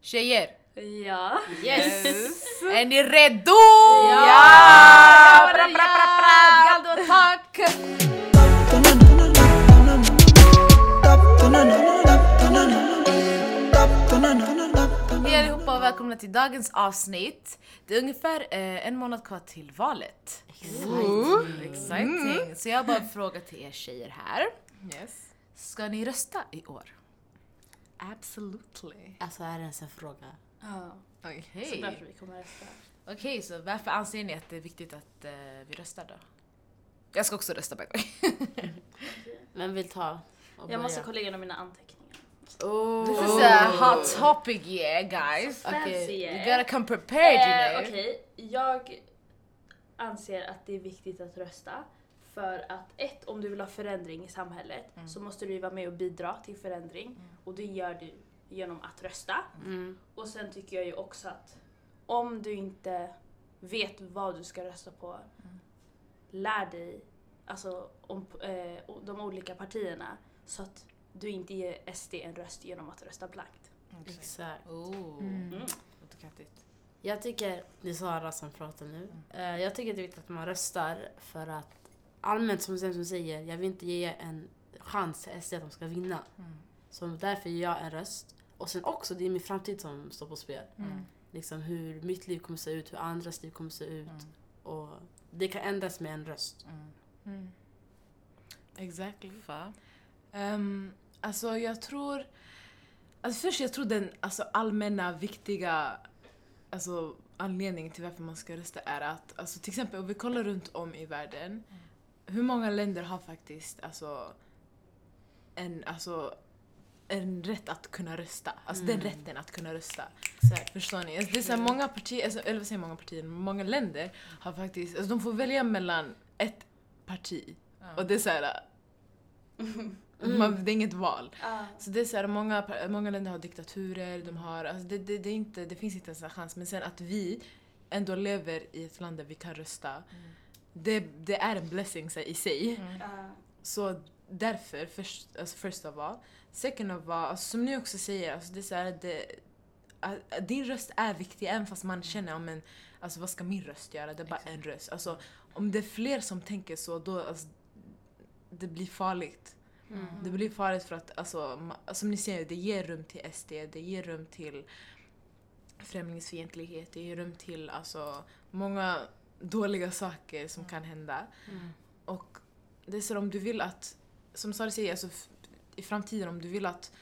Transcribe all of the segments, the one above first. Tjejer! Ja. Yes! Är ni redo? Ja! Bra, bra, bra, bra. Galdo attack! Hej allihopa och välkomna till dagens avsnitt. Det är ungefär eh, en månad kvar till valet. Exciting! Så jag har bara en fråga till er tjejer här. Yes. Ska ni rösta i år? Absolutely. Alltså är det ens en fråga? Ja. Okej. Så Okej, därför vi kommer rösta. så varför anser ni att det är viktigt att eh, vi röstar då? Jag ska också rösta by the way. Vem vill ta? och Jag måste börja? kolla igenom mina anteckningar. This is a hot topic yeah guys. Okej, Fancy, You eh. gotta come prepared you know. Eh, Okej, jag anser att det är viktigt att rösta. För att ett, om du vill ha förändring i samhället Mm. så måste du ju vara med och bidra till förändring. Och det gör du genom att rösta. Mm. Och sen tycker jag ju också att om du inte vet vad du ska rösta på, lär dig alltså, om eh, o- de olika partierna så att du inte ger SD en röst genom att rösta blankt. Exakt. Oh. Mm. Otokrattigt. Jag tycker, det är Sara som pratar nu. Eh, Jag tycker det är viktigt att man röstar för att allmänt som den som säger, jag vill inte ge en chans till SD att de ska vinna. Så därför ger jag en röst. Och sen också, det är min framtid som står på spel. Liksom hur mitt liv kommer se ut, hur andras liv kommer se ut. Och det kan ändras med en röst. Mm, Exactly. Fan. Um, alltså jag tror... Alltså först jag tror den alltså, allmänna viktiga alltså, anledningen till varför man ska rösta är att alltså, till exempel om vi kollar runt om i världen. Hur många länder har faktiskt alltså, en, alltså, en rätt att kunna rösta? Alltså den rätten att kunna rösta. Exakt. Förstår ni? Alltså, det är så här, många partier, alltså, eller vad säger jag, många partier, många länder har faktiskt, alltså, de får välja mellan ett parti och det är såhär, man, det är inget val. Så det är såhär, många, par- många länder har diktaturer, de har, alltså, det, det, det, är inte, det finns inte ens en chans. Men sen att vi ändå lever i ett land där vi kan rösta, det, det är en blessing så här, i sig. Mm. Ja. Så därför, först, alltså först av all. Second of all, alltså som ni också säger, alltså det är så här, det, att- att din röst är viktig även fast man känner, ja, men, alltså, vad ska min röst göra? Det är bara en röst. Alltså, om det är fler som tänker så, då alltså, det blir farligt. Mm. Det blir farligt för att, alltså, ma- som ni säger, det ger rum till SD, det ger rum till främlingsfientlighet, det ger rum till alltså, många dåliga saker som kan hända. Och det är så om du vill att, som Sara säger, alltså, f- i framtiden om du vill att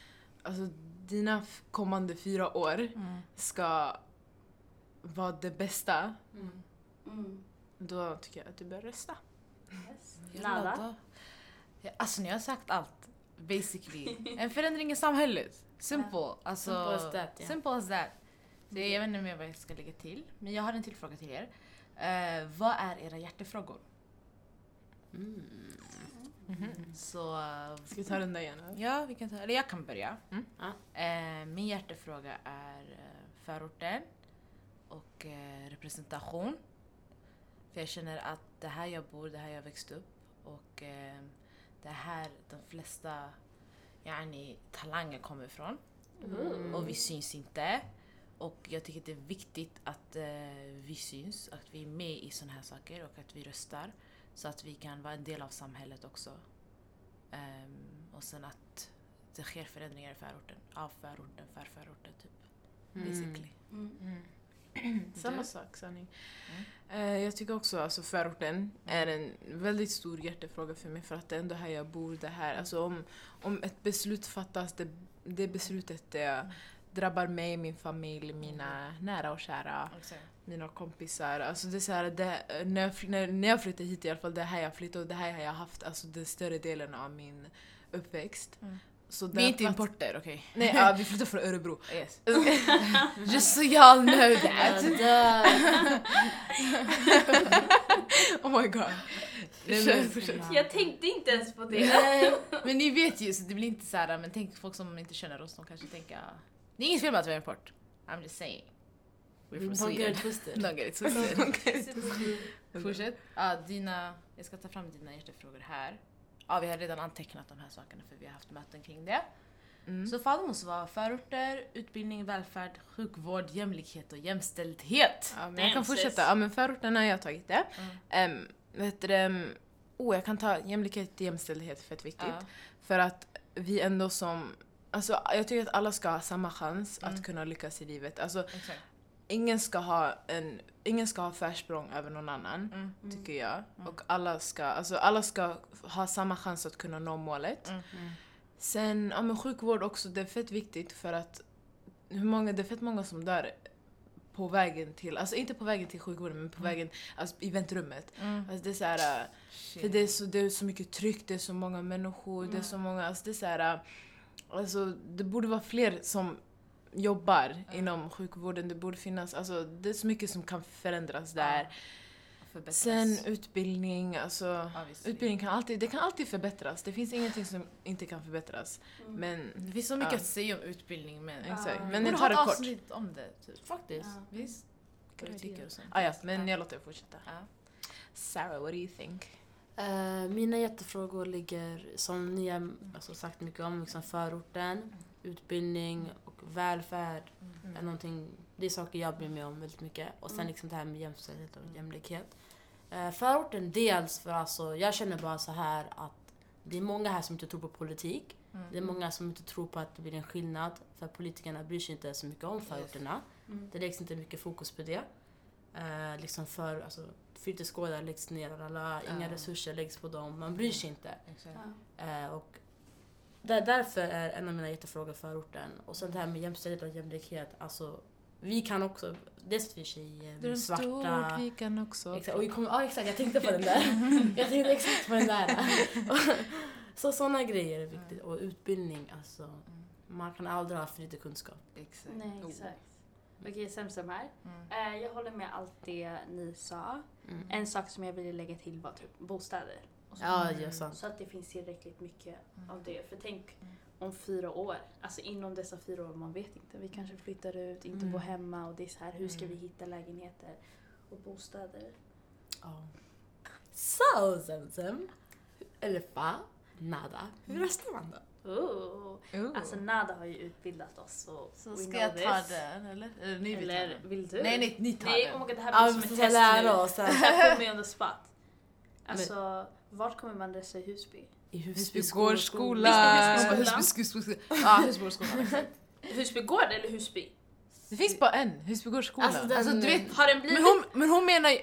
alltså, dina f- kommande fyra år ska vara det bästa, Mm. då tycker jag att du bör rösta. Yes. Nada. Mm. Nada. Ja, alltså ni har sagt allt. Basically. En förändring i samhället. Simple. Alltså, Simple as that, ja. simple as that. Så jag vet inte mer vad jag ska lägga till. Men jag har en till fråga till er. Eh, vad är era hjärtefrågor? Mm. Mhm. Så... eh, Ska vi ta den där igen? eller? Ja, vi kan ta, eller jag kan börja. Ja. Eh, min hjärtefråga är eh, förorten och eh, representation. För jag känner att det här jag bor, det här jag växt upp och eh, det här de flesta yani, talanger kommer ifrån. Mm. Och vi syns inte. Och jag tycker det är viktigt att eh, vi syns, att vi är med i sådana här saker och att vi röstar. Så att vi kan vara en del av samhället också. Ehm, och sen att det sker förändringar i förorten, av förorten, för förorten typ. Basically. Mm. Samma sak, sanning. Mm. Eh, jag tycker också att alltså, förorten är en väldigt stor hjärtefråga för mig för att det är ändå här jag bor. Det här. Alltså, om, om ett beslut fattas, det, det beslutet eh, drabbar mig, min familj, mina nära och kära. mina kompisar. Alltså det är så här, det, när, jag, fly- när, när jag flyttade hit i alla fall, det här jag flyttade och det här har jag haft alltså, den större delen av min uppväxt. Så Mm. Vi är inte därför att- importer, okej? Nej, ja, vi flyttade från Örebro. Yes. Just so y'all know Jag that. dör. Oh my god. Nej, men, Mm. Jag tänkte inte ens på det. men ni vet ju, så det blir inte så här, men tänk folk som inte känner oss, de kanske tänker "Ah, det är inget fel med att vi är import. I'm just saying. We're from Don't get Sweden. it twisted. Don't get it twisted. Fortsätt. Ja, dina, jag ska ta fram dina hjärtefrågor här. Ja, vi har redan antecknat de här sakerna för vi har haft möten kring det. Mm. Så Falmos var förorter, utbildning, välfärd, sjukvård, jämlikhet och jämställdhet. Ja, men Damn, jag kan sis. fortsätta. Ja, men förorterna har jag tagit det. Mm. Um, vet du, det, ehm, oh, jag kan ta jämlikhet och jämställdhet för att det är viktigt. Ja. För att vi ändå som... Alltså, jag tycker att alla ska ha samma chans Mm. att kunna lyckas i livet. Alltså, Exakt. ingen ska ha, en, ingen ska ha försprång över någon annan, Mm. tycker jag. Och alla ska, alltså, alla ska ha samma chans att kunna nå målet. Mm. Mm. Sen, ja men sjukvård också, det är fett viktigt för att hur många, det är fett många som dör på vägen till, alltså inte på vägen till sjukvården men på vägen, alltså i väntrummet. Mm. Alltså det är så här, äh, för Shit. det är, så, det är så mycket tryck, det är så många människor, Mm. det är så många, alltså det är så här, äh, alltså det borde vara fler som jobbar inom sjukvården, det borde finnas, alltså det är så mycket som kan förändras där. Förbättras. Sen utbildning, alltså Obviously. utbildning kan alltid, det kan alltid förbättras, det finns ingenting som inte kan förbättras. Mm. Men Det finns så mycket Ja. att säga om utbildning men... Ja. Exakt, Ah. men Borde jag ha tar det ett kort. avsnitt om det, typ. Faktiskt. Ja. Visst? Vad du Bra tycker idé. och sånt. Ah, ja, men Ja. jag låter er fortsätta. Ja. Sarah, what do you think? Eh, mina jättefrågor ligger, som ni har alltså, sagt mycket om, liksom förorten, utbildning och välfärd. Mm. Är någonting, det är saker jag bryr mig om väldigt mycket. Och sen Mm. liksom det här med jämställdhet och jämlikhet. Eh, förorten dels för alltså, jag känner bara så här att det är många här som inte tror på politik. Mm. Det är många som inte tror på att det blir en skillnad. För att politikerna bryr sig inte så mycket om förorterna. Mm. Det läggs inte mycket fokus på det. Eh, liksom för, alltså, fritidsgårdar läggs ner, alla, inga Ja. resurser läggs på dem, man bryr sig inte. Exakt. Ja. Eh, och där, därför är en av mina jättefrågor förorten. Och sen det här med jämställdhet och jämlikhet, alltså vi kan också, dels vi tjejer, vi svarta. vi kan också. Exakt, och vi kommer, ja exakt, jag tänkte på den där. jag tänkte exakt på den där. så sådana grejer är viktigt. Och utbildning, alltså. Man kan aldrig ha för lite kunskap. Exakt. Nej, exakt. Okej, Semsem här. Mm. Eh, Jag håller med allt det ni sa. Mm. En sak som jag ville lägga till var typ bostäder. Och så. Ah. Ja, det är sant. Så att det finns tillräckligt mycket Mm. av det. För tänk Mm. om fyra år, alltså inom dessa fyra år, man vet inte. Vi kanske flyttar ut, inte Mm. bor hemma och det är så här, hur ska Mm. vi hitta lägenheter och bostäder? Ja. Så, Zemzem. Eller fa. Nada. Hur röstar man då? Oh. Alltså Nada har ju utbildat oss och Så we ska know jag ta this. den eller? Eller ni vill Eller ta den? vill du? Nej, nej, ni tar Nej, den. oh my God, det här Ja, blir vi som får ett test nu. lära oss. Det här kommer ju under spot. Alltså, vart kommer man rösta i Husby? I Husby gårdsskola. gårdsskola. Husby gårdsskola. Husby skola. Ja, Husby gårdsskola. exakt. Husby gård eller Husby? Det finns bara en, Husby gårdsskola. Alltså, den- du vet. Har den blivit... Men hon, men hon menar ju...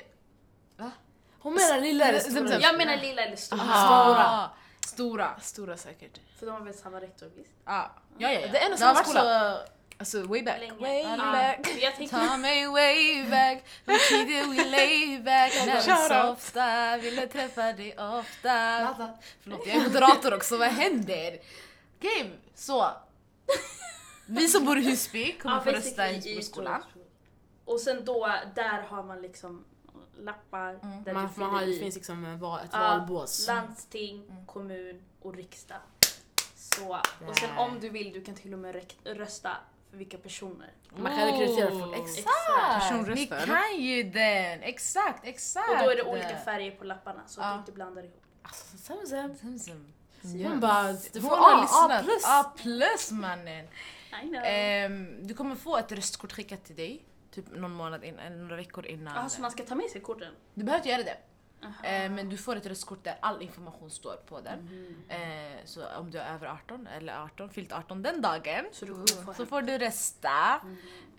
Hon menar lilla eller Zem, stora? zem. Jag menar lilla eller stora. Ah, Stora. Stora säkert. För de har väl samma rektor visst? Ah. Ja, ja, ja. Det är en Det har varit skola. så... Alltså way back. Länge. Way Ja. back. Men Jag tänkte Ta mig way back, hur tider we lay back När vi Shout out. softa, ville träffa dig ofta Förlåt, jag är moderator också, vad händer? Game! Så! Vi som bor i Husby kommer Ja, få rösta i basically Husbyskolan. Storskolan. Och sen då, där har man liksom lappar. Mm. Där Man, du man har, fyller det i. finns liksom en val, ett Ja, valbås. Landsting, Mm. kommun och riksdag. Så. Och sen Där. om du vill, du kan till och med rek- rösta för vilka personer. Man kan rekrytera folk. Oh. Exakt. Exakt! Ni Personröstar. kan ju den! Exakt, exakt! Och då är det olika färger på lapparna så att Ja. du inte blandar ihop. Alltså, Zem, Zem. Samsung. Hon bara, du får Hon A, har A lyssnat. plus. A plus mannen. I know. Ehm, du kommer få ett röstkort skickat till dig. Typ någon månad innan, eller några veckor innan. Jaha, så man ska ta med sig korten? Du behöver inte göra det. Aha. Ehm, men du får ett röstkort där all information står på den. Ehm, så om du är över 18 eller 18, fyllt 18 den dagen. Så du kommer få Så hem. får du rösta.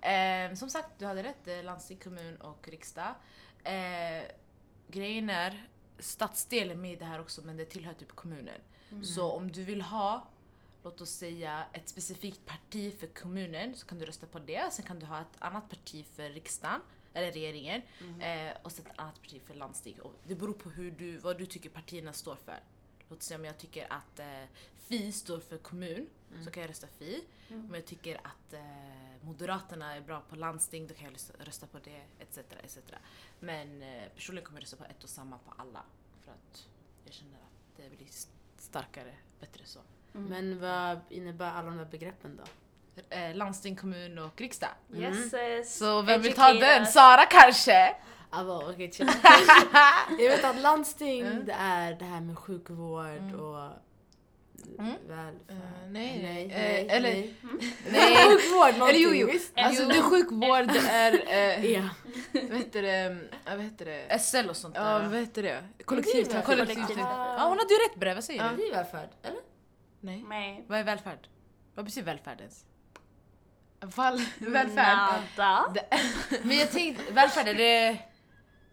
Ehm, som sagt, du hade rätt. eh, Landsting, kommun och riksdag. Ehm, grejen är, stadsdel är med i det här också men det tillhör typ kommunen. Så om du vill ha, låt oss säga ett specifikt parti för kommunen så kan du rösta på det. Sen kan du ha ett annat parti för riksdagen eller regeringen eh, och sen ett annat parti för landsting. Och det beror på hur du, vad du tycker partierna står för. Låt oss säga om jag tycker att eh, Fi står för kommun så kan jag rösta Fi. Om jag tycker att eh, Moderaterna är bra på landsting då kan jag rösta- rösta på det etc. etc. Men eh, personligen kommer jag rösta på ett och samma på alla för att jag känner att det blir s- starkare, bättre så. Men vad innebär alla de där begreppen då? Eh, landsting, kommun och riksdag. Yes, yes. Mm. Så vem vill ta Educate den? us. Sara kanske? Alltså, okay, chill. jag vet att landsting, det är det här med sjukvård och välfärd. Eh, nej, nej, nej. nej, Eh, eller- nej. Nej! Sjukvård, någonting. jo, jo. visst? Alltså det är sjukvård, det är... Eh, Ja. vad heter det? Ja, Vad heter det? SL och sånt Ja, där. vad va? heter det? Det är Kollektivtrafik. väl- Kollektivt. Ah. Ja, hon hade ju rätt bre, vad säger Ja. du? Det är välfärd, eller? Nej. Nej. Vad är välfärd? Vad betyder välfärd ens? Val- välfärd. Nada. Men jag tänkte, välfärd är det...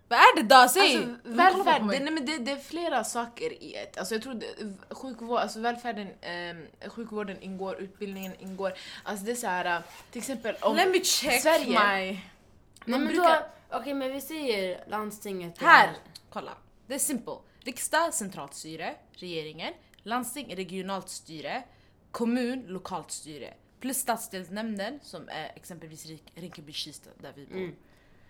Vad är det då? Säg! Alltså, välfärd, det, nej, men det, det är flera saker i ett. Alltså, jag tror det, sjukvård, alltså, välfärden, eh, sjukvården ingår, utbildningen ingår. Alltså det är så här, eh, till exempel om... Let me check Sverige. my... Nej men då, brukar- okej men vi säger landstinget. Här! Kolla. Det är simple. Riksdag, centralt styre. Regeringen. Landsting, regionalt styre. Kommun, lokalt styre. Plus stadsdelsnämnden som är exempelvis Rik- Rinkeby-Kista där vi bor. Mm.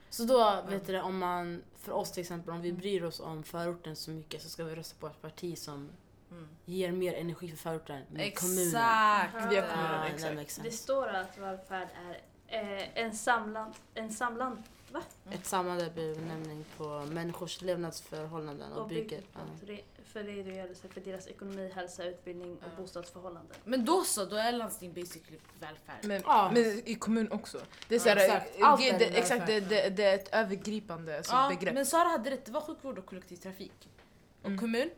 Så då, vet du det, om man, för oss till exempel, om Mm. vi bryr oss om förorten så mycket så ska vi rösta på ett parti som Mm. ger mer energi för förorten. Men kommunen. Exakt! Via Ja. kommunen. Ah, Exakt. det makes Det sense. står att välfärd är eh, en samlan... En samlan... Mm. Ett samlande benämning på människors levnadsförhållanden och, Och bygger. bygg- att re- För redogörelse för deras ekonomi, hälsa, utbildning och Ja. bostadsförhållanden. Men då så, då är landsting basically välfärd. Men, Ja. men i kommun också. Det är Ja, så här, exakt. eh, Allt det, är det, välfärd. exakt det, det, det är ett övergripande så, ja, begrepp. men Sara hade rätt, det var sjukvård och kollektivtrafik. Och Mm. kommun,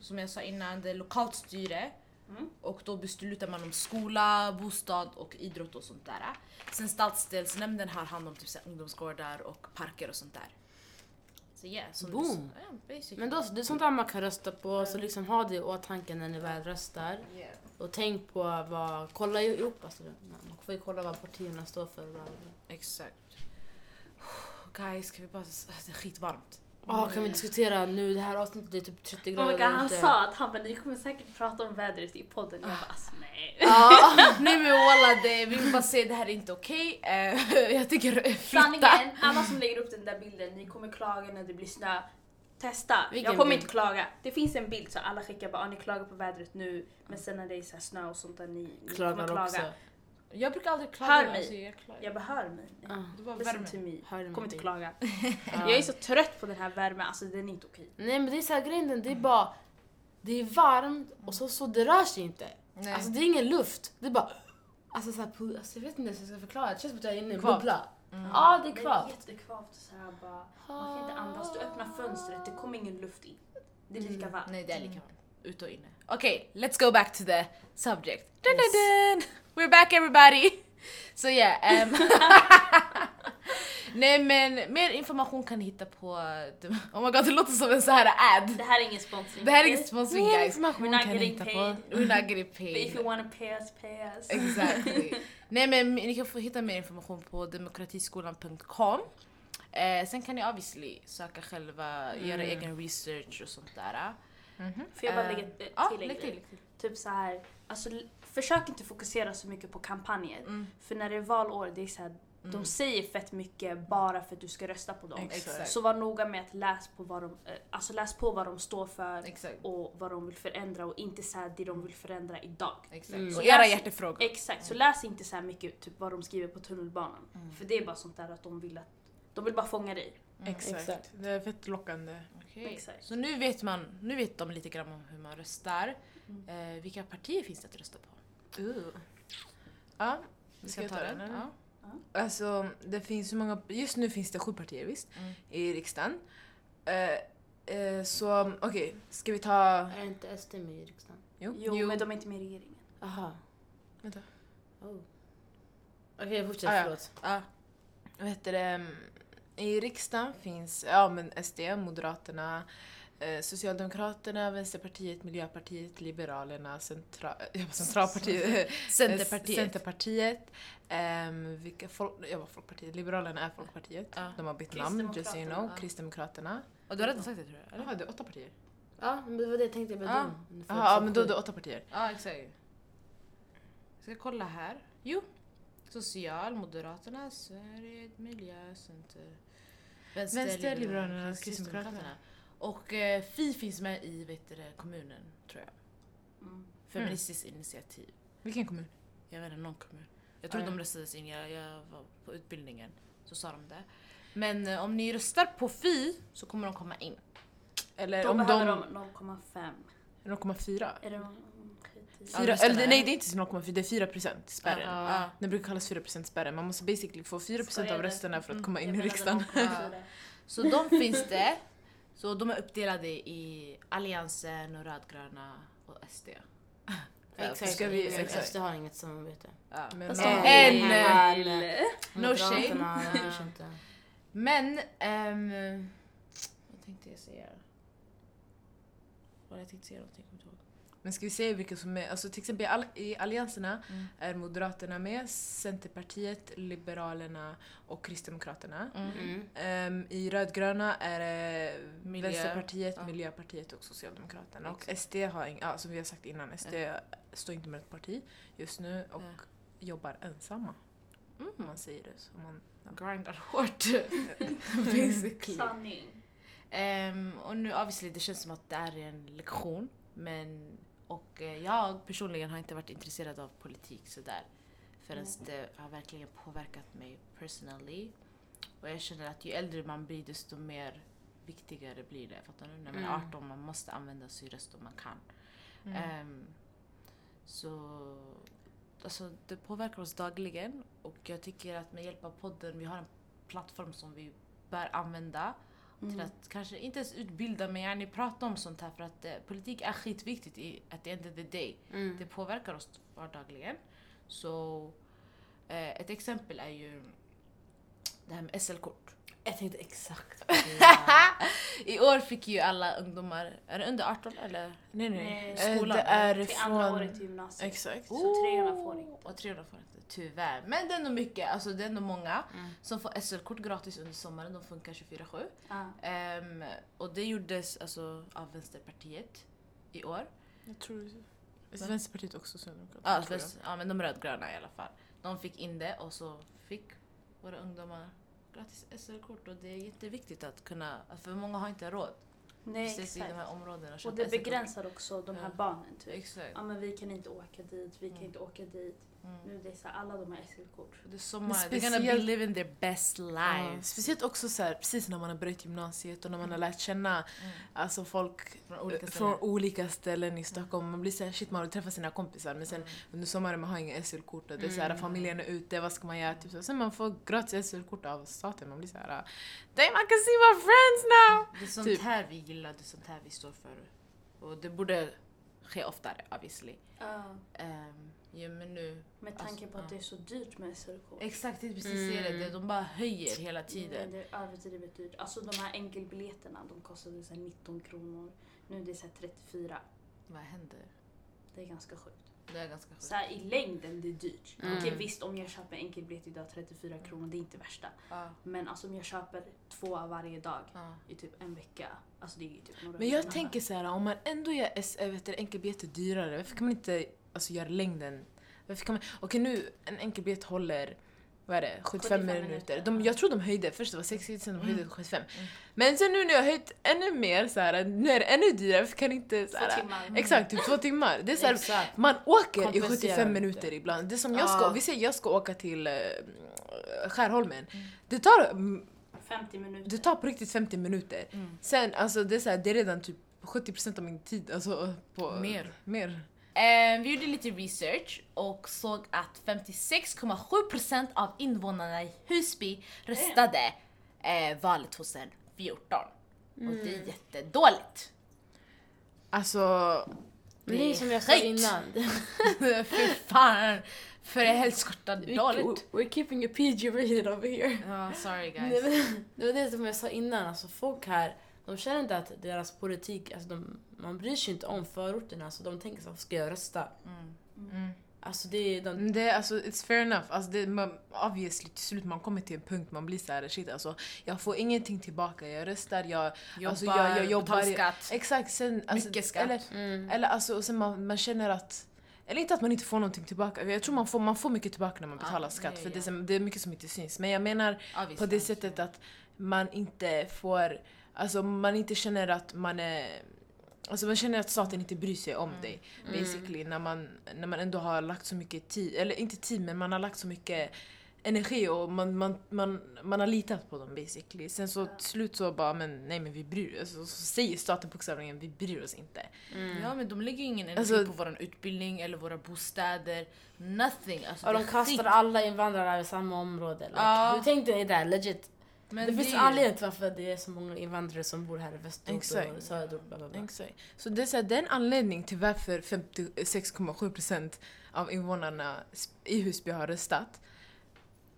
som jag sa innan, det är lokalt styre. Mm. Och då beslutar man om skola, bostad och idrott och sånt där. Sen stadsdelsnämnden har hand om typ så här ungdomsgårdar och parker och sånt där. Så yeah, som du Boom. sa. Ja, basically. Men då, så, det är sånt där man kan rösta på, Mm. så liksom ha det i åtanke när ni väl röstar. Yeah. Och tänk på vad, kolla ihop alltså. Man får ju kolla vad partierna står för. och vad- Mm. Exakt. Guys, kan vi bara... Det är skitvarmt. Ja, kan vi diskutera nu, det här avsnittet är typ 30 Oh my grader. god, han ute. sa att han bara, ni kommer säkert prata om vädret i podden. Jag bara, alltså nej. Ja, Ah. nej men walla, det, vi vill bara säga det här är inte okej. Eh, jag tycker flytta. Sanningen, alla som lägger upp den där bilden, ni kommer klaga när det blir snö. Testa! Vilken jag kommer bild? inte klaga. Det finns en bild så alla skickar bara, ah, ni klagar på vädret nu, men sen när det är så här snö och sånt där, ni, ni kommer Klagar klaga. också. Jag brukar aldrig klaga. Hör mig. alltså, jag klagar. Jag behöver mig. Ja. Det var Listen värme. to me. Hör mig. Kommer inte klaga. Ja. Jag är så trött på den här värmen, alltså den är inte okej. Nej men det är så här grejen, det är bara... Det är varmt och så, så det rör sig inte. Nej. Alltså det är ingen luft. Det är bara... Alltså, så här, pu- alltså jag vet inte hur jag ska förklara, det känns som att jag är inne i en Kvavt. bubbla. Mm. Ja, det är Det är kvavt. jättekvavt och så här bara, man kan inte andas. Du öppnar fönstret, det kommer ingen luft in. Det är lika varmt. Nej, det är lika varmt. Ut och inne. Okej, let's go back to the subject. Dun, dun, dun. We're back everybody! So yeah. ehm. Nej men mer information kan ni hitta på... Oh my god, det låter som en så här ad. Det här är ingen sponsring. Det här är ingen sponsring Mer guys. information We're not kan ni getting hitta på. paid. We're not getting But if paid. you wanna pay us, pay us. Mm. Exactly. Nej men ni kan få hitta mer information på demokratiskolan.com. Eh, sen kan ni obviously söka själva, göra egen research och sånt där. Får jag bara Eh, lägga till Ja, en lägg grej? till. lägg till. Typ så här, alltså, l- försök inte fokusera så mycket på kampanjer. Mm. För när det är valår, det är så här, de säger fett mycket bara för att du ska rösta på dem. Exakt. Så var noga med att läs på vad de, eh, alltså läs på vad de står för Exakt. och vad de vill förändra och inte så här det de vill förändra idag. Exakt. Mm. Och era hjärtefrågor. Exakt, så läs inte så här mycket typ, vad de skriver på tunnelbanan. För det är bara sånt där att de vill att, de vill bara fånga dig. Exakt. Exakt. Det är fett lockande. Okej. Exakt. Mm. Så nu vet, man, nu vet de lite grann om hur man röstar. Eh, vilka partier finns det att rösta på? Ja, Vi ska jag ta den? eller? Ja. Alltså, det finns hur många... Just nu finns det sju partier, visst? Mm. I riksdagen. Eh, eh, så okej, ska vi ta... Är inte SD med i riksdagen? Jo. Jo, men de är inte med i regeringen. Aha. Vänta. Oh. Okej, fortsätt. Ah, ja. Förlåt. Ja. Vad heter det? Mm, I riksdagen finns ja, men SD, Moderaterna, eh, Socialdemokraterna, Vänsterpartiet, Miljöpartiet, Liberalerna, Centra, jag bara, Centralpartiet, Centerpartiet. Centerpartiet ehm, vilka folk, jag var Folkpartiet, Liberalerna är Folkpartiet. Ja. De har bytt namn, just so you know. Kristdemokraterna, ja. Kristdemokraterna. Och du har redan sagt det tror jag? Eller Eller? har det åtta partier? Ja, men det var det jag tänkte. Jag bara, Ah. dum. Jaha, ja, men då är det åtta partier. Ja, exakt. Jag ska kolla här. Jo. Social, Moderaterna, Sverige, Miljö, Center. Vänster, Liberalerna, Liberalerna, Kristdemokraterna. Kristdemokraterna. Och eh, Fi finns med i vet du, det, kommunen, tror jag. Mm. Feministiskt initiativ. Vilken kommun? Jag vet inte, någon kommun. Jag tror Ja, ja. de röstades in, jag, jag var på utbildningen. Så sa de det. Men eh, om ni röstar på Fi så kommer de komma in. Eller Då Eh, om behöver de... de 0,5. 0,4? Är det någon- skit. Ja, Fyra, just det, eller, nej. nej, det är inte 0,4, det är 4 procent spärren. Ja. Ja. Det brukar kallas 4 procent spärren. Man måste basically få 4 procent av Spärren. rösterna för att Mm, komma jag in i menade riksdagen. 0,4. Så de finns det. Så de är uppdelade i Alliansen och rödgröna och SD. Exakt. Ska vi- exakt. SD har inget samarbete. Ja. Men, eh, Fast de En- är en- här. No Moderaterna, jag bryr sig inte. Men, ehm, vad tänkte jag säga? Vad jag tänkte säga någonting, kommer inte ihåg. men ska vi se vilka som är... Alltså till exempel i all- i allianserna Mm. är Moderaterna med, Centerpartiet, Liberalerna och Kristdemokraterna. Mm. Ehm, I rödgröna är det Miljö. Vänsterpartiet, Ja. Miljöpartiet och Socialdemokraterna. Och SD har, ing- ja, som vi har sagt innan, SD står inte med ett parti just nu och Ja. jobbar ensamma. Om man säger det. Så man, Grindar hårt. Basically. Sanning. Ehm, och nu obviously, det känns som att det är en lektion. Men, och eh, jag personligen har inte varit intresserad av politik sådär. Förrän det har verkligen påverkat mig personally. Och jag känner att ju äldre man blir desto mer viktigare blir det. Fattar du? När man är Mm. 18 man måste använda sin röst om man kan. Mm. Ehm, så alltså, det påverkar oss dagligen och jag tycker att med hjälp av podden, vi har en plattform som vi bör använda till Mm. Mm. att kanske inte ens utbilda men gärna prata om sånt här för att eh, politik är skitviktigt i at the end of the day. Mm. Det påverkar oss vardagligen. Så eh, ett exempel är ju det här med SL-kort. Jag tänkte exakt I år fick ju alla ungdomar, är det under 18 eller? nej, Nej, Eh, skolan. Det är Till andra från... året i gymnasiet. Exakt. Så 300 får inte. Och 300 får inte, tyvärr. Men det är ändå mycket, alltså det är ändå många Mm. som får SL-kort gratis under sommaren, de funkar 24-7. Ah. Ehm, och det gjordes alltså av Vänsterpartiet i år. Jag tror... Alltså, Vänsterpartiet också Sverigedemokraterna. Ja, tror jag. väst, ja men de rödgröna i alla fall. De fick in det och så fick våra ungdomar gratis SL-kort och det är jätteviktigt att kunna, för många har inte råd. Nej, precis i de här exakt. områdena. att Och köpa det SL-kort. begränsar också de här Ja. barnen. Typ. Exakt. Ja, men vi kan inte åka dit, vi kan Mm. inte åka dit. Mm. Nu det är så här, alla de här SL-kort. Det är sommar, they're speciellt- gonna be living their best Ja, lives. Speciellt också så här, precis när man har börjat gymnasiet och när man har lärt känna Mm. alltså, folk Från olika från ställen. olika ställen i Stockholm. Man blir såhär, shit man vill träffa sina kompisar men sen Mm. under sommaren man har inga SL-kort och det är Mm. såhär, familjen är ute, vad ska man göra? Typ så. Sen man får gratis SL-kort av staten, man blir såhär Damn I can see my friends now! Det är sånt Typ. här vi gillar, det är sånt här vi står för. Och det borde ske oftare obviously. Ja. Um, ja, men nu. Med tanke Alltså, på att det är så dyrt med SL-kort. Exakt, det är precis Mm. det. De bara höjer hela Nej, tiden. Det är överdrivet dyrt. Alltså de här enkelbiljetterna, de kostade så här 19 kronor. Nu är det så här 34. Vad händer? Det är ganska sjukt. Det är ganska sjukt. Så här, i längden, det är dyrt. Mm. Okej visst, om jag köper en enkelbiljett idag 34 kronor, det är inte värsta. Ja, Men alltså om jag köper två varje dag ja. i typ en vecka, alltså det är ju typ några Men jag hundra. tänker såhär, om man ändå gör S- äh, vet du, enkelbiljetter dyrare, varför kan man inte alltså, göra längden? Varför kan man... Okej nu, en enkelbiljett håller vad är det, 75, 75 minuter. minuter. De, jag tror de höjde, först det var 60, sen de höjde Mm. till 75. Mm. Men sen nu när jag har höjt ännu mer, så här, nu är det ännu dyrare, varför kan inte... Så Två här, timmar. Mm. Exakt, typ två timmar. Det är så här, Exakt. man åker i Kompensera 75 lite. minuter ibland. Det är som jag ska, Ja. vi säger jag ska åka till eh, Skärholmen. Det tar, mm, 50 minuter. det tar på riktigt 50 minuter. Mm. Sen, alltså det är, så här, det är redan typ 70% av min tid. Alltså, på, Mer. mer. Ehm, vi gjorde lite research och såg att 56,7% av invånarna i Husby röstade eh, valet 2014. Och Mm. det är jättedåligt. Alltså, Men det är som jag sa Skit. innan. Fy fan! För helskotta dåligt. We're keeping a PG rated over here. Ja, sorry Nej, guys. men, det var det som jag sa innan, alltså folk här, de känner inte att deras politik, alltså de, man bryr sig inte om förorterna, så de tänker så här, ska jag rösta? Mm. Alltså det är de... det är alltså, it's fair enough. Alltså, det, man, obviously, till slut man kommer till en punkt man blir så här, shit alltså, jag får ingenting tillbaka. Jag röstar, jag Jobbar, Alltså, jag- jag jobbar- betalar skatt. Exakt, sen... Alltså, Mycket skatt. Eller, Mm. eller alltså, och sen man, man känner att... Eller inte att man inte får någonting tillbaka. Jag tror man får, man får mycket tillbaka när man Ja, betalar det skatt. är- För det är, ja. som- det är mycket som inte syns. Men jag menar Ja, visst, på det ja. sättet att man inte får... Alltså man inte känner att man är... Alltså man känner att staten inte bryr sig om Mm. dig. Basically när man, när man ändå har lagt så mycket tid, eller inte tid men man har lagt så mycket energi och man, man, man, man har litat på dem basically. Sen så till slut så bara, men nej men vi bryr oss. Så, så säger staten på församlingen, vi bryr oss inte. Mm. Ja men de lägger ju ingen energi Alltså- på vår utbildning eller våra bostäder. Nothing. Alltså, Och det de är kastar skit. alla invandrare i samma område. Like, Ja. Hur tänkte ni där? Legit. Men det finns är en ju- anledning till varför det är så många invandrare som bor här i västort och Exakt. söderort. bla, bla, bla. Exakt. Så det är, så här, det är en anledning till varför 56,7% av invånarna sp- i Husby har röstat.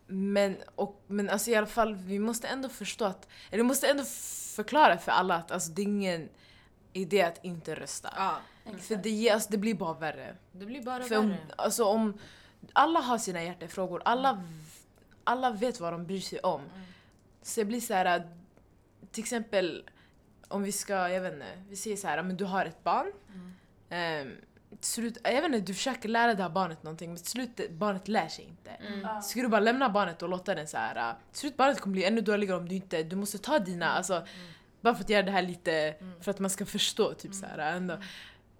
Men, och, men alltså i alla fall, vi måste ändå förstå att, eller vi måste ändå förklara för alla att alltså, det är ingen idé att inte rösta. Ja, För det, ger- alltså, det blir bara värre. det blir bara För om, värre. alltså, om alla har sina hjärtefrågor, alla, alla vet vad de bryr sig om. Så det blir så här, att- till exempel om vi ska, jag vet inte, vi säger så här, men du har ett barn. Ehm, till slut, jag vet inte, du försöker lära det här barnet någonting men till slut det- barnet lär sig inte. Ja. Ska du bara lämna barnet och låta den så här. äh, Till slut barnet kommer bli ännu dåligare om du inte, du måste ta dina, alltså bara för att göra det här lite, för att man ska förstå typ så här ändå.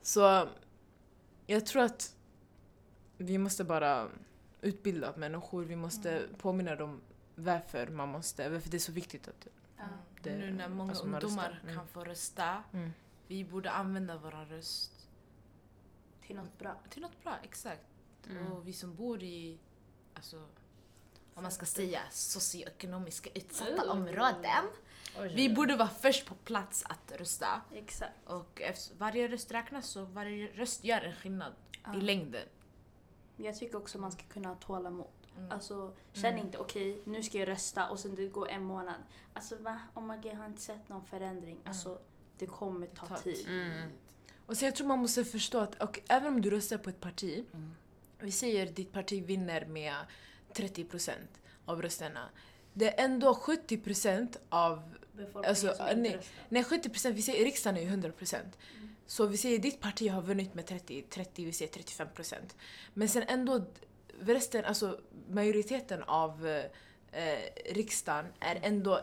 Så jag tror att vi måste bara utbilda människor, vi måste påminna dem varför man måste, varför det är så viktigt att det, nu när många alltså, man ungdomar röstar. Mm. kan få rösta, Mm. vi borde använda vår röst Till något bra. till något bra, exakt. Och vi som bor i, alltså, om man ska säga socioekonomiska utsatta Ooh. områden. Vi borde vara först på plats att rösta. Exakt. Och efter, varje röst räknas så varje röst gör en skillnad Ja. i längden. Jag tycker också man ska kunna ha tålamod. Mm. Alltså, känn inte okej, nu ska jag rösta och sen det går en månad. Alltså va? Oh my God, jag har inte sett någon förändring. Alltså, det kommer ta tar tid. Mm. Och så jag tror man måste förstå att och även om du röstar på ett parti, vi säger ditt parti vinner med 30% av rösterna. Det är ändå 70% av Befolkningen Alltså, som inte nej. röstar. Nej, 70 procent. Vi säger, riksdagen är ju 100 procent. Så vi säger ditt parti har vunnit med 30, 30 vi säger 35 procent. Men sen ändå, d- resten, alltså majoriteten av eh, eh, riksdagen är ändå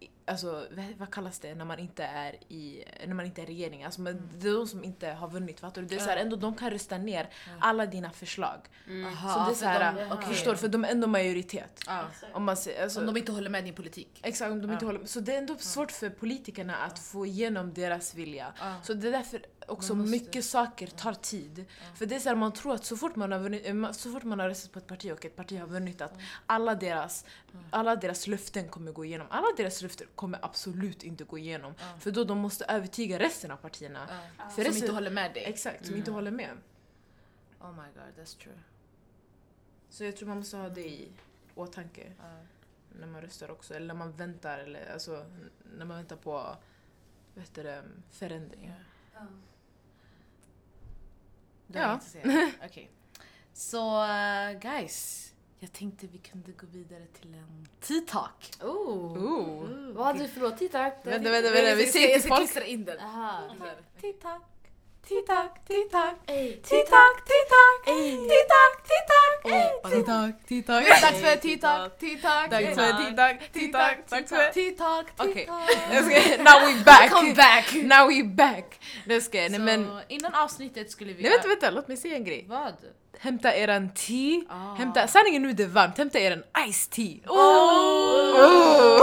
i- Alltså vad, vad kallas det när man inte är i när man inte är i regeringen? Alltså, Mm. men Det är de som inte har vunnit. Fattar du? Det är så här, ändå, de kan rösta ner alla dina förslag. Mm. Ah, så det är så här, för alltså, de, okej. Förstår du? För de är ändå majoritet. Ja. Om man, ser- alltså, Om de inte håller med din politik. Exakt, om de inte Ja. håller Så det är ändå svårt för politikerna att få igenom deras vilja. Ja. Så det är därför också Man måste- mycket saker tar tid. För det är så här, man tror att så fort man, har vunnit, eh, ma- så fort man har röstat på ett parti och ett parti har vunnit att alla deras, alla deras löften kommer gå igenom. Alla deras löften kommer absolut inte gå igenom. För då de måste övertyga resten av partierna. Ja. För Som resten, inte Mm. håller med dig. Exakt, som inte håller med. Oh my god, that's true. Så jag tror man måste ha det i åtanke Ja. när man röstar också. Eller när man väntar, eller, alltså, n- när man väntar på vad heter det, förändringar. Det har jag Ja. inte sett. Okej. Så eh, guys, jag tänkte vi kunde gå vidare till en tea talk. Oh. Ooh. Vad hade du för låt? Titta! Vänta, vänta, vänta, vi säger Jag till ska folk. klistra in den. Aha. Tea talk, tea talk, tea talk. Ey, Tea talk, tea talk, tea talk, tea talk. Tea talk, Eh. tea talk. Dags för tea talk, tea talk. Dags för tea talk, tea talk, dags för... Tea talk, tea Okej. talk. Jag ska- Now we back! Come back! Now we back! Det ska jag, nej men... Så innan avsnittet skulle vi... Nej vänta, vänta, låt mig säga en grej. Vad? Hämta eran te, Ah. hämta, sanningen nu det är varmt, hämta eran iced tea. Oh.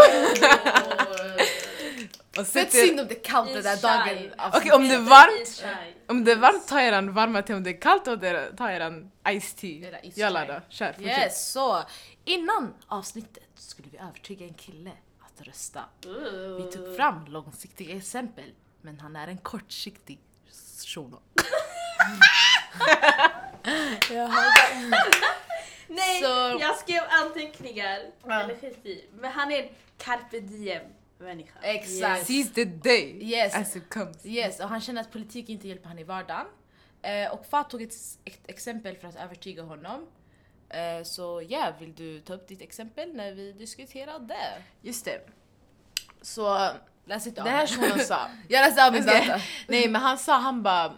Och Fett sätt er, synd om det är kallt den där dagen. Alltså. Okej om Alltså, det är varmt, varmt. om det är varmt ta eran varma te, om det är kallt och det- ta eran iced Era tea. iced Jalla chai. då, kör, fortsätt. Yes, så innan avsnittet skulle vi övertyga en kille att rösta. Vi tog fram långsiktiga exempel, men han är en kortsiktig shuno. Nej, Så- jag skrev anteckningar. Eller skit i. Men han är en carpe diem människa. Exakt. Yes. Alltså. Seize the day Yes. as it comes. och han känner att politik inte hjälper han i vardagen. Eh, och Fat tog ett, ett exempel för att övertyga honom. Eh, så ja, vill du ta upp ditt exempel när vi diskuterade? Just det. Så Läs inte av det här mig. shunon sa, Jag läste av min Okej. data. nej men han sa han bara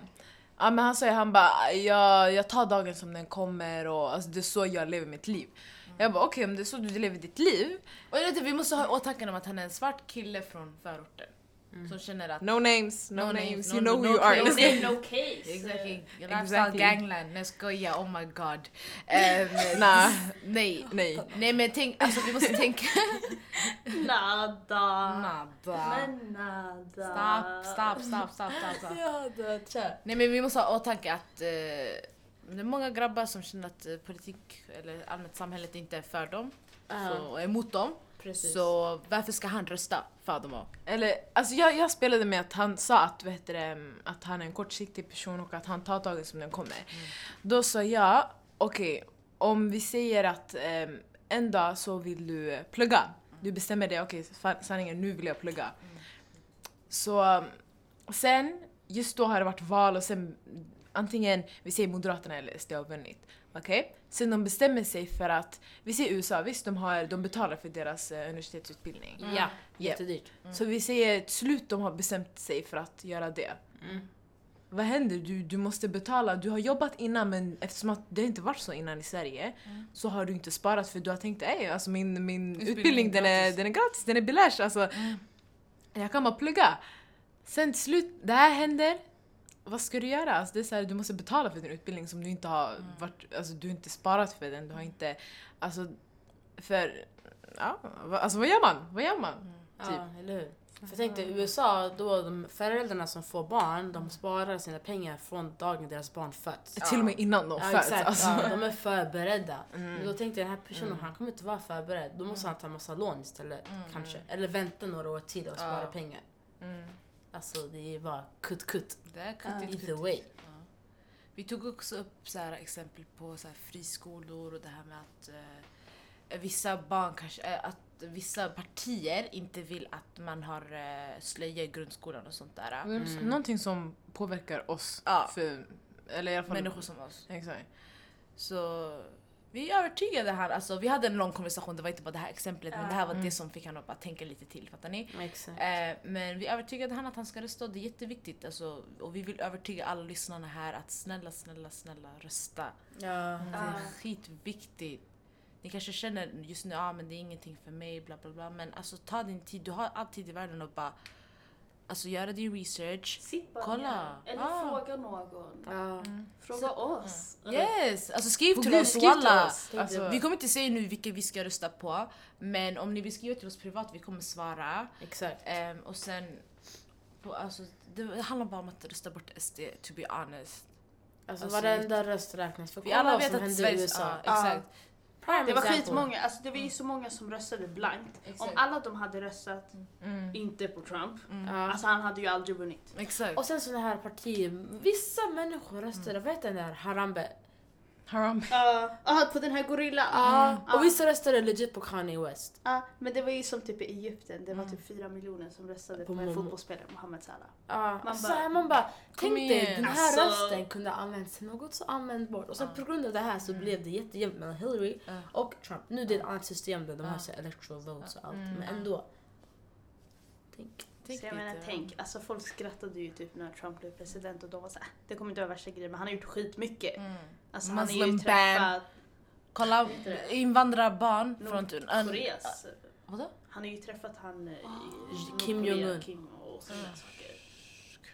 Ja men han sa ju han bara jag, jag tar dagen som den kommer och alltså, det är så jag lever mitt liv. Jag bara okej om det är så du lever ditt liv, Och jag vet, inte, vi måste ha i åtanke om att han är en svart kille från förorten. Som känner att... No names, no, No names, no- names, you know no- who you no are. names. No name, no case. Exactly. Exactly. Lifestyle gangland. Nej jag skojar, oh my god. Ehm, Nah, nej. nej. Nej men tänk, alltså vi måste tänka... Nada. Nada. Men nada. Stopp, stopp, stopp, stopp, stopp. stopp. Jag har dött, kör. Nej men vi måste ha i åtanke att eh, det är många grabbar som känner att eh, politik eller allmänt samhället inte är för dem så, och är emot dem. precis. Så varför ska han rösta för dem? också? Eller, alltså jag, jag spelade med att han sa att, vet du, ehm, att han är en kortsiktig person och att han tar taget som den kommer. Då sa jag, okej, om vi säger att ehm, en dag så vill du eh, plugga. Du bestämmer dig, okej fa- sanningen, nu vill jag plugga. Så ehm, sen, just då har det varit val och sen antingen, vi säger Moderaterna eller SD har vunnit. Okej? Sen de bestämmer sig för att, vi säger USA, visst de, har, de betalar för deras eh, universitetsutbildning. Ja, jättedyrt. Så vi säger till slut de har bestämt sig för att göra det. Mm. Vad händer? Du, du måste betala. Du har jobbat innan men eftersom att det inte varit så innan i Sverige så har du inte sparat för du har tänkt ej, alltså min, min utbildning, Mm. är den, är, gratis." Mm. den är gratis, den är beläst. Alltså, Jag kan bara plugga. Sen till slut, det här händer. Vad ska du göra? Alltså, det är så här, du måste betala för din utbildning som du inte har Mm. varit, alltså, du har inte sparat för den. Du har inte, alltså, för, ja, va- alltså vad gör man? Vad gör man? Ja, eller hur? För jag tänkte i USA, då de föräldrarna som får barn, de sparar sina pengar från dagen deras barn föds. Till och med innan de Ja, föds. exakt. Alltså. Ja, de är förberedda. Men då tänkte jag den här personen, han kommer inte vara förberedd. Då måste han ta massa lån istället kanske. Eller vänta några år till och spara Ja. pengar. Alltså det är bara kutt kutt. Det är kuttigt, Either kuttigt. way. Vi tog också upp så här exempel på så här friskolor och det här med att eh, vissa barn kanske, eh, att vissa partier inte vill att man har eh, slöja i grundskolan och sånt där. Mm. Någonting som påverkar oss. Ja. För, eller i alla fall Människor som oss. Exakt. Så vi övertygade han, alltså vi hade en lång konversation, det var inte bara det här exemplet men det här var det som fick han att bara tänka lite till, fattar ni? Exakt. Eh, men vi övertygade han att han ska rösta och det är jätteviktigt alltså, och vi vill övertyga alla lyssnarna här att snälla, snälla, snälla rösta. Ja. Det Ja. är skitviktigt. Ni kanske känner just nu, ja ah, men det är ingenting för mig, bla bla bla. Men alltså ta din tid, du har all tid i världen och bara Alltså göra din research. Sitt bara Kolla. ner. Eller Ah. fråga någon. Ja. Fråga oss. Yes! Alltså skriv till Gud, oss, skriv till walla! oss. Tänk Alltså, dig. vi kommer inte säga nu vilka vi ska rösta på, men om ni vill skriva till oss privat, vi kommer svara. Exakt. Ehm, och sen, på, alltså, det handlar bara om att rösta bort SD, to be honest. Alltså, Alltså, varenda röst räknas. För Vi kolla alla vad vet som att hände i Sverige... USA. Ja, exakt. Prime Det var example. skitmånga, alltså det var ju så många som röstade blankt. Om Mm. Exakt. Mm. alla de hade röstat inte på Trump, Ja. alltså han hade ju aldrig vunnit. Exakt. Och sen såna här partier, vissa människor röstade, Mm. vad heter den där, Harambe? Haram. Ja, ah, på den här gorillan. Mm. Och vissa röstade legit på Kanye West. Ja, men det var ju som typ i Egypten, det var Mm. typ fyra miljoner som röstade på, På en Momo. fotbollsspelare, Mohamed Salah. Ja, Man alltså, bara- så här, man bara, tänk dig igen. den här Alltså- rösten kunde ha använts till något så användbart. Och sen på grund av det här så blev det jättejämnt mellan Hillary Mm. Ja. och Trump. Nu är det ett annat system där de har Ja. Mm, så här electoral votes och allt, men ändå. Tänk. så jag menar lite. tänk, alltså folk skrattade ju typ när Trump blev president och de var såhär, "Äh, det kommer inte vara värsta grejen men han har gjort skitmycket. Mm. Alltså han är ju Muslim ban. träffat Kolla invandrarbarn från... typ Nordkoreas. Vadå? Han har ju träffat han eh, i Kim Nordkorea, Jong-Un. Kim och sådana saker.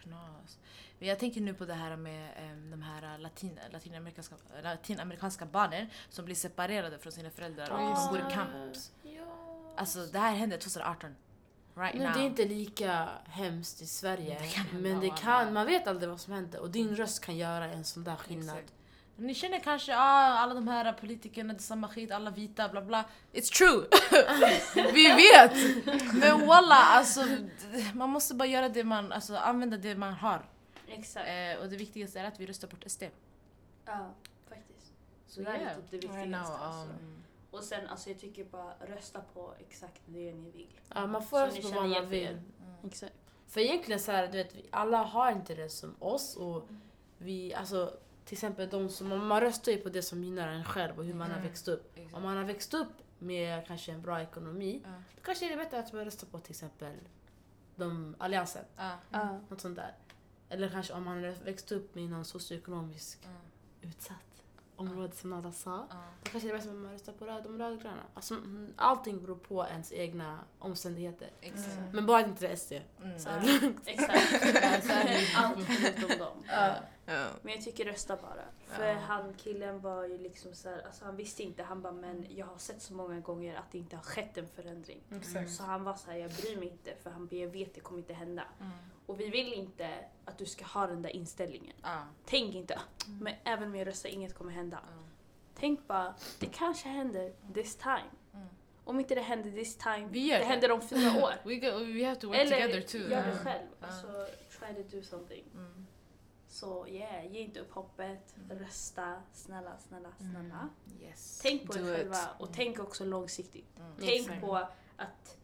Knas. Men jag tänker nu på det här med em, de här latin, latinamerikanska, latinamerikanska barnen som blir separerade från sina föräldrar och de just bor i det. camps. Alltså det här hände 2018. Right Nu, now. det är inte lika hemskt i Sverige, Det kan hända men det var kan, det. man vet aldrig vad som händer och din röst kan göra en sån där skillnad. Exakt. Ni känner kanske ah, alla de här politikerna, det är samma skit, alla vita, bla bla. It's true! Vi vet! Men walla, alltså d- man måste bara göra det man, alltså använda det man har. Exakt. Eh, och det viktigaste är att vi röstar bort SD. Ja, faktiskt. Så det här yeah. är typ det Right viktigaste. now, alltså. um, Mm. Och sen alltså jag tycker bara rösta på exakt det ni vill. Ja, man Så får ni rösta på känner vad igen man för er. vill. Exakt. För egentligen så här, du vet, vi alla har inte det som oss och vi, alltså till exempel de som, man- man röstar ju på det som gynnar en själv och hur man Mm. har växt upp. exakt. Om man har växt upp med kanske en bra ekonomi, Ja. då kanske det är bättre att man röstar på till exempel de, Alliansen, Ah. Ja. något sånt där. Eller kanske om man har växt upp med någon socioekonomisk Mm. utsatt område som Nada sa. Ja. Då kanske det är bäst att man röstar på röd, de rödgröna. Alltså, mm, allting beror på ens egna omständigheter. Exakt. Mm. Men bara inte det är SD. Mm. Så här, exakt. Allt förutom dem. Ja. Ja. Men jag tycker rösta bara. För Ja. han killen var ju liksom så här, alltså han visste inte, han bara men jag har sett så många gånger att det inte har skett en förändring. Exakt. Så han var så här, jag bryr mig inte för han bara, jag vet det kommer inte hända. Mm. Och vi vill inte att du ska ha den där inställningen. Ja. Tänk inte, Mm. men även om jag röstar inget kommer hända. Ja. Tänk bara, det kanske händer this time. Mm. Om inte det händer this time, Vi gör det det. händer om fyra år. We, go, we have to work together Eller too. Mm. gör det Ja. själv. Ja. Alltså, try to do something. Mm. Så yeah, ge inte upp hoppet. Mm. Rösta, snälla, snälla, Mm. snälla. Yes. Tänk på Do er it. själva och Mm. tänk också långsiktigt. Mm. Tänk Exakt. på att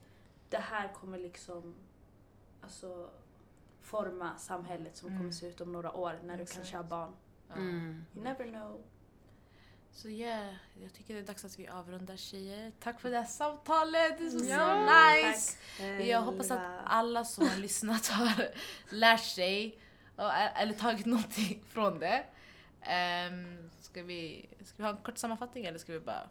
det här kommer liksom alltså, forma samhället som Mm. kommer se ut om några år när du Exakt. kanske har barn. Ja. Mm. You never know. Så yeah, jag tycker det är dags att vi avrundar tjejer. Tack för det här samtalet, det var så Ja, nice! Jag hoppas att alla som har lyssnat har lärt sig och- eller tagit någonting från det. Um, ska, vi, ska vi ha en kort sammanfattning eller ska vi bara...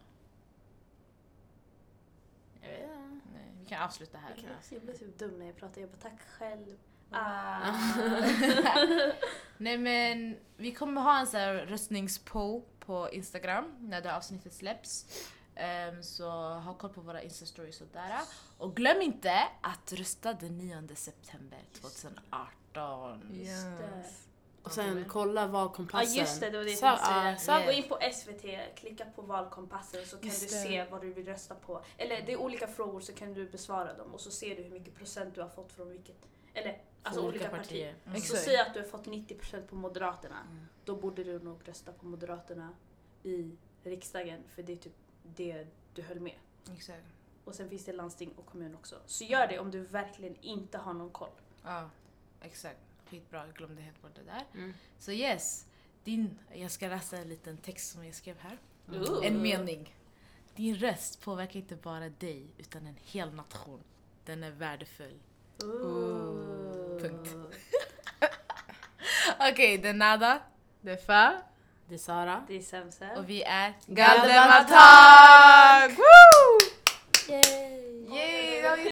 Jag vet inte. Nej, vi kan avsluta här. Jag, jag blir typ dum när jag pratar. Jag bara tack själv. Ah. Ah. Nej men vi kommer ha en sån här röstningspoll på Instagram när det här avsnittet släpps. Ehm, så ha koll på våra Insta-stories och där. Och glöm inte att rösta den 9 september 2018. Yes. Just det. Och sen kolla Ja valkompassen. just det, det var det jag Så- tänkte ja, säga. så- ja. Gå in på SVT, klicka på valkompassen så kan Just du det. se vad du vill rösta på. Eller det är olika frågor så kan du besvara dem och så ser du hur mycket procent du har fått från vilket, eller alltså från olika, partier. Mm. Så Exakt. säg att du har fått 90% på Moderaterna, Mm. då borde du nog rösta på Moderaterna i riksdagen för det är typ det du höll med. Exakt. Och sen finns det landsting och kommun också. Så gör det om du verkligen inte har någon koll. Ja, exakt. Skitbra, jag glömde helt bort det där. Mm. Så yes, din, jag ska läsa en liten text som jag skrev här. Ooh. Mm. En mening. Din röst påverkar inte bara dig utan en hel nation. Den är värdefull. Ooh. Punkt. Okej, det är Nada Det är Fa. Det är Sara. Det är Semse. och vi är Galdermatag! Woo! Yay! Yay!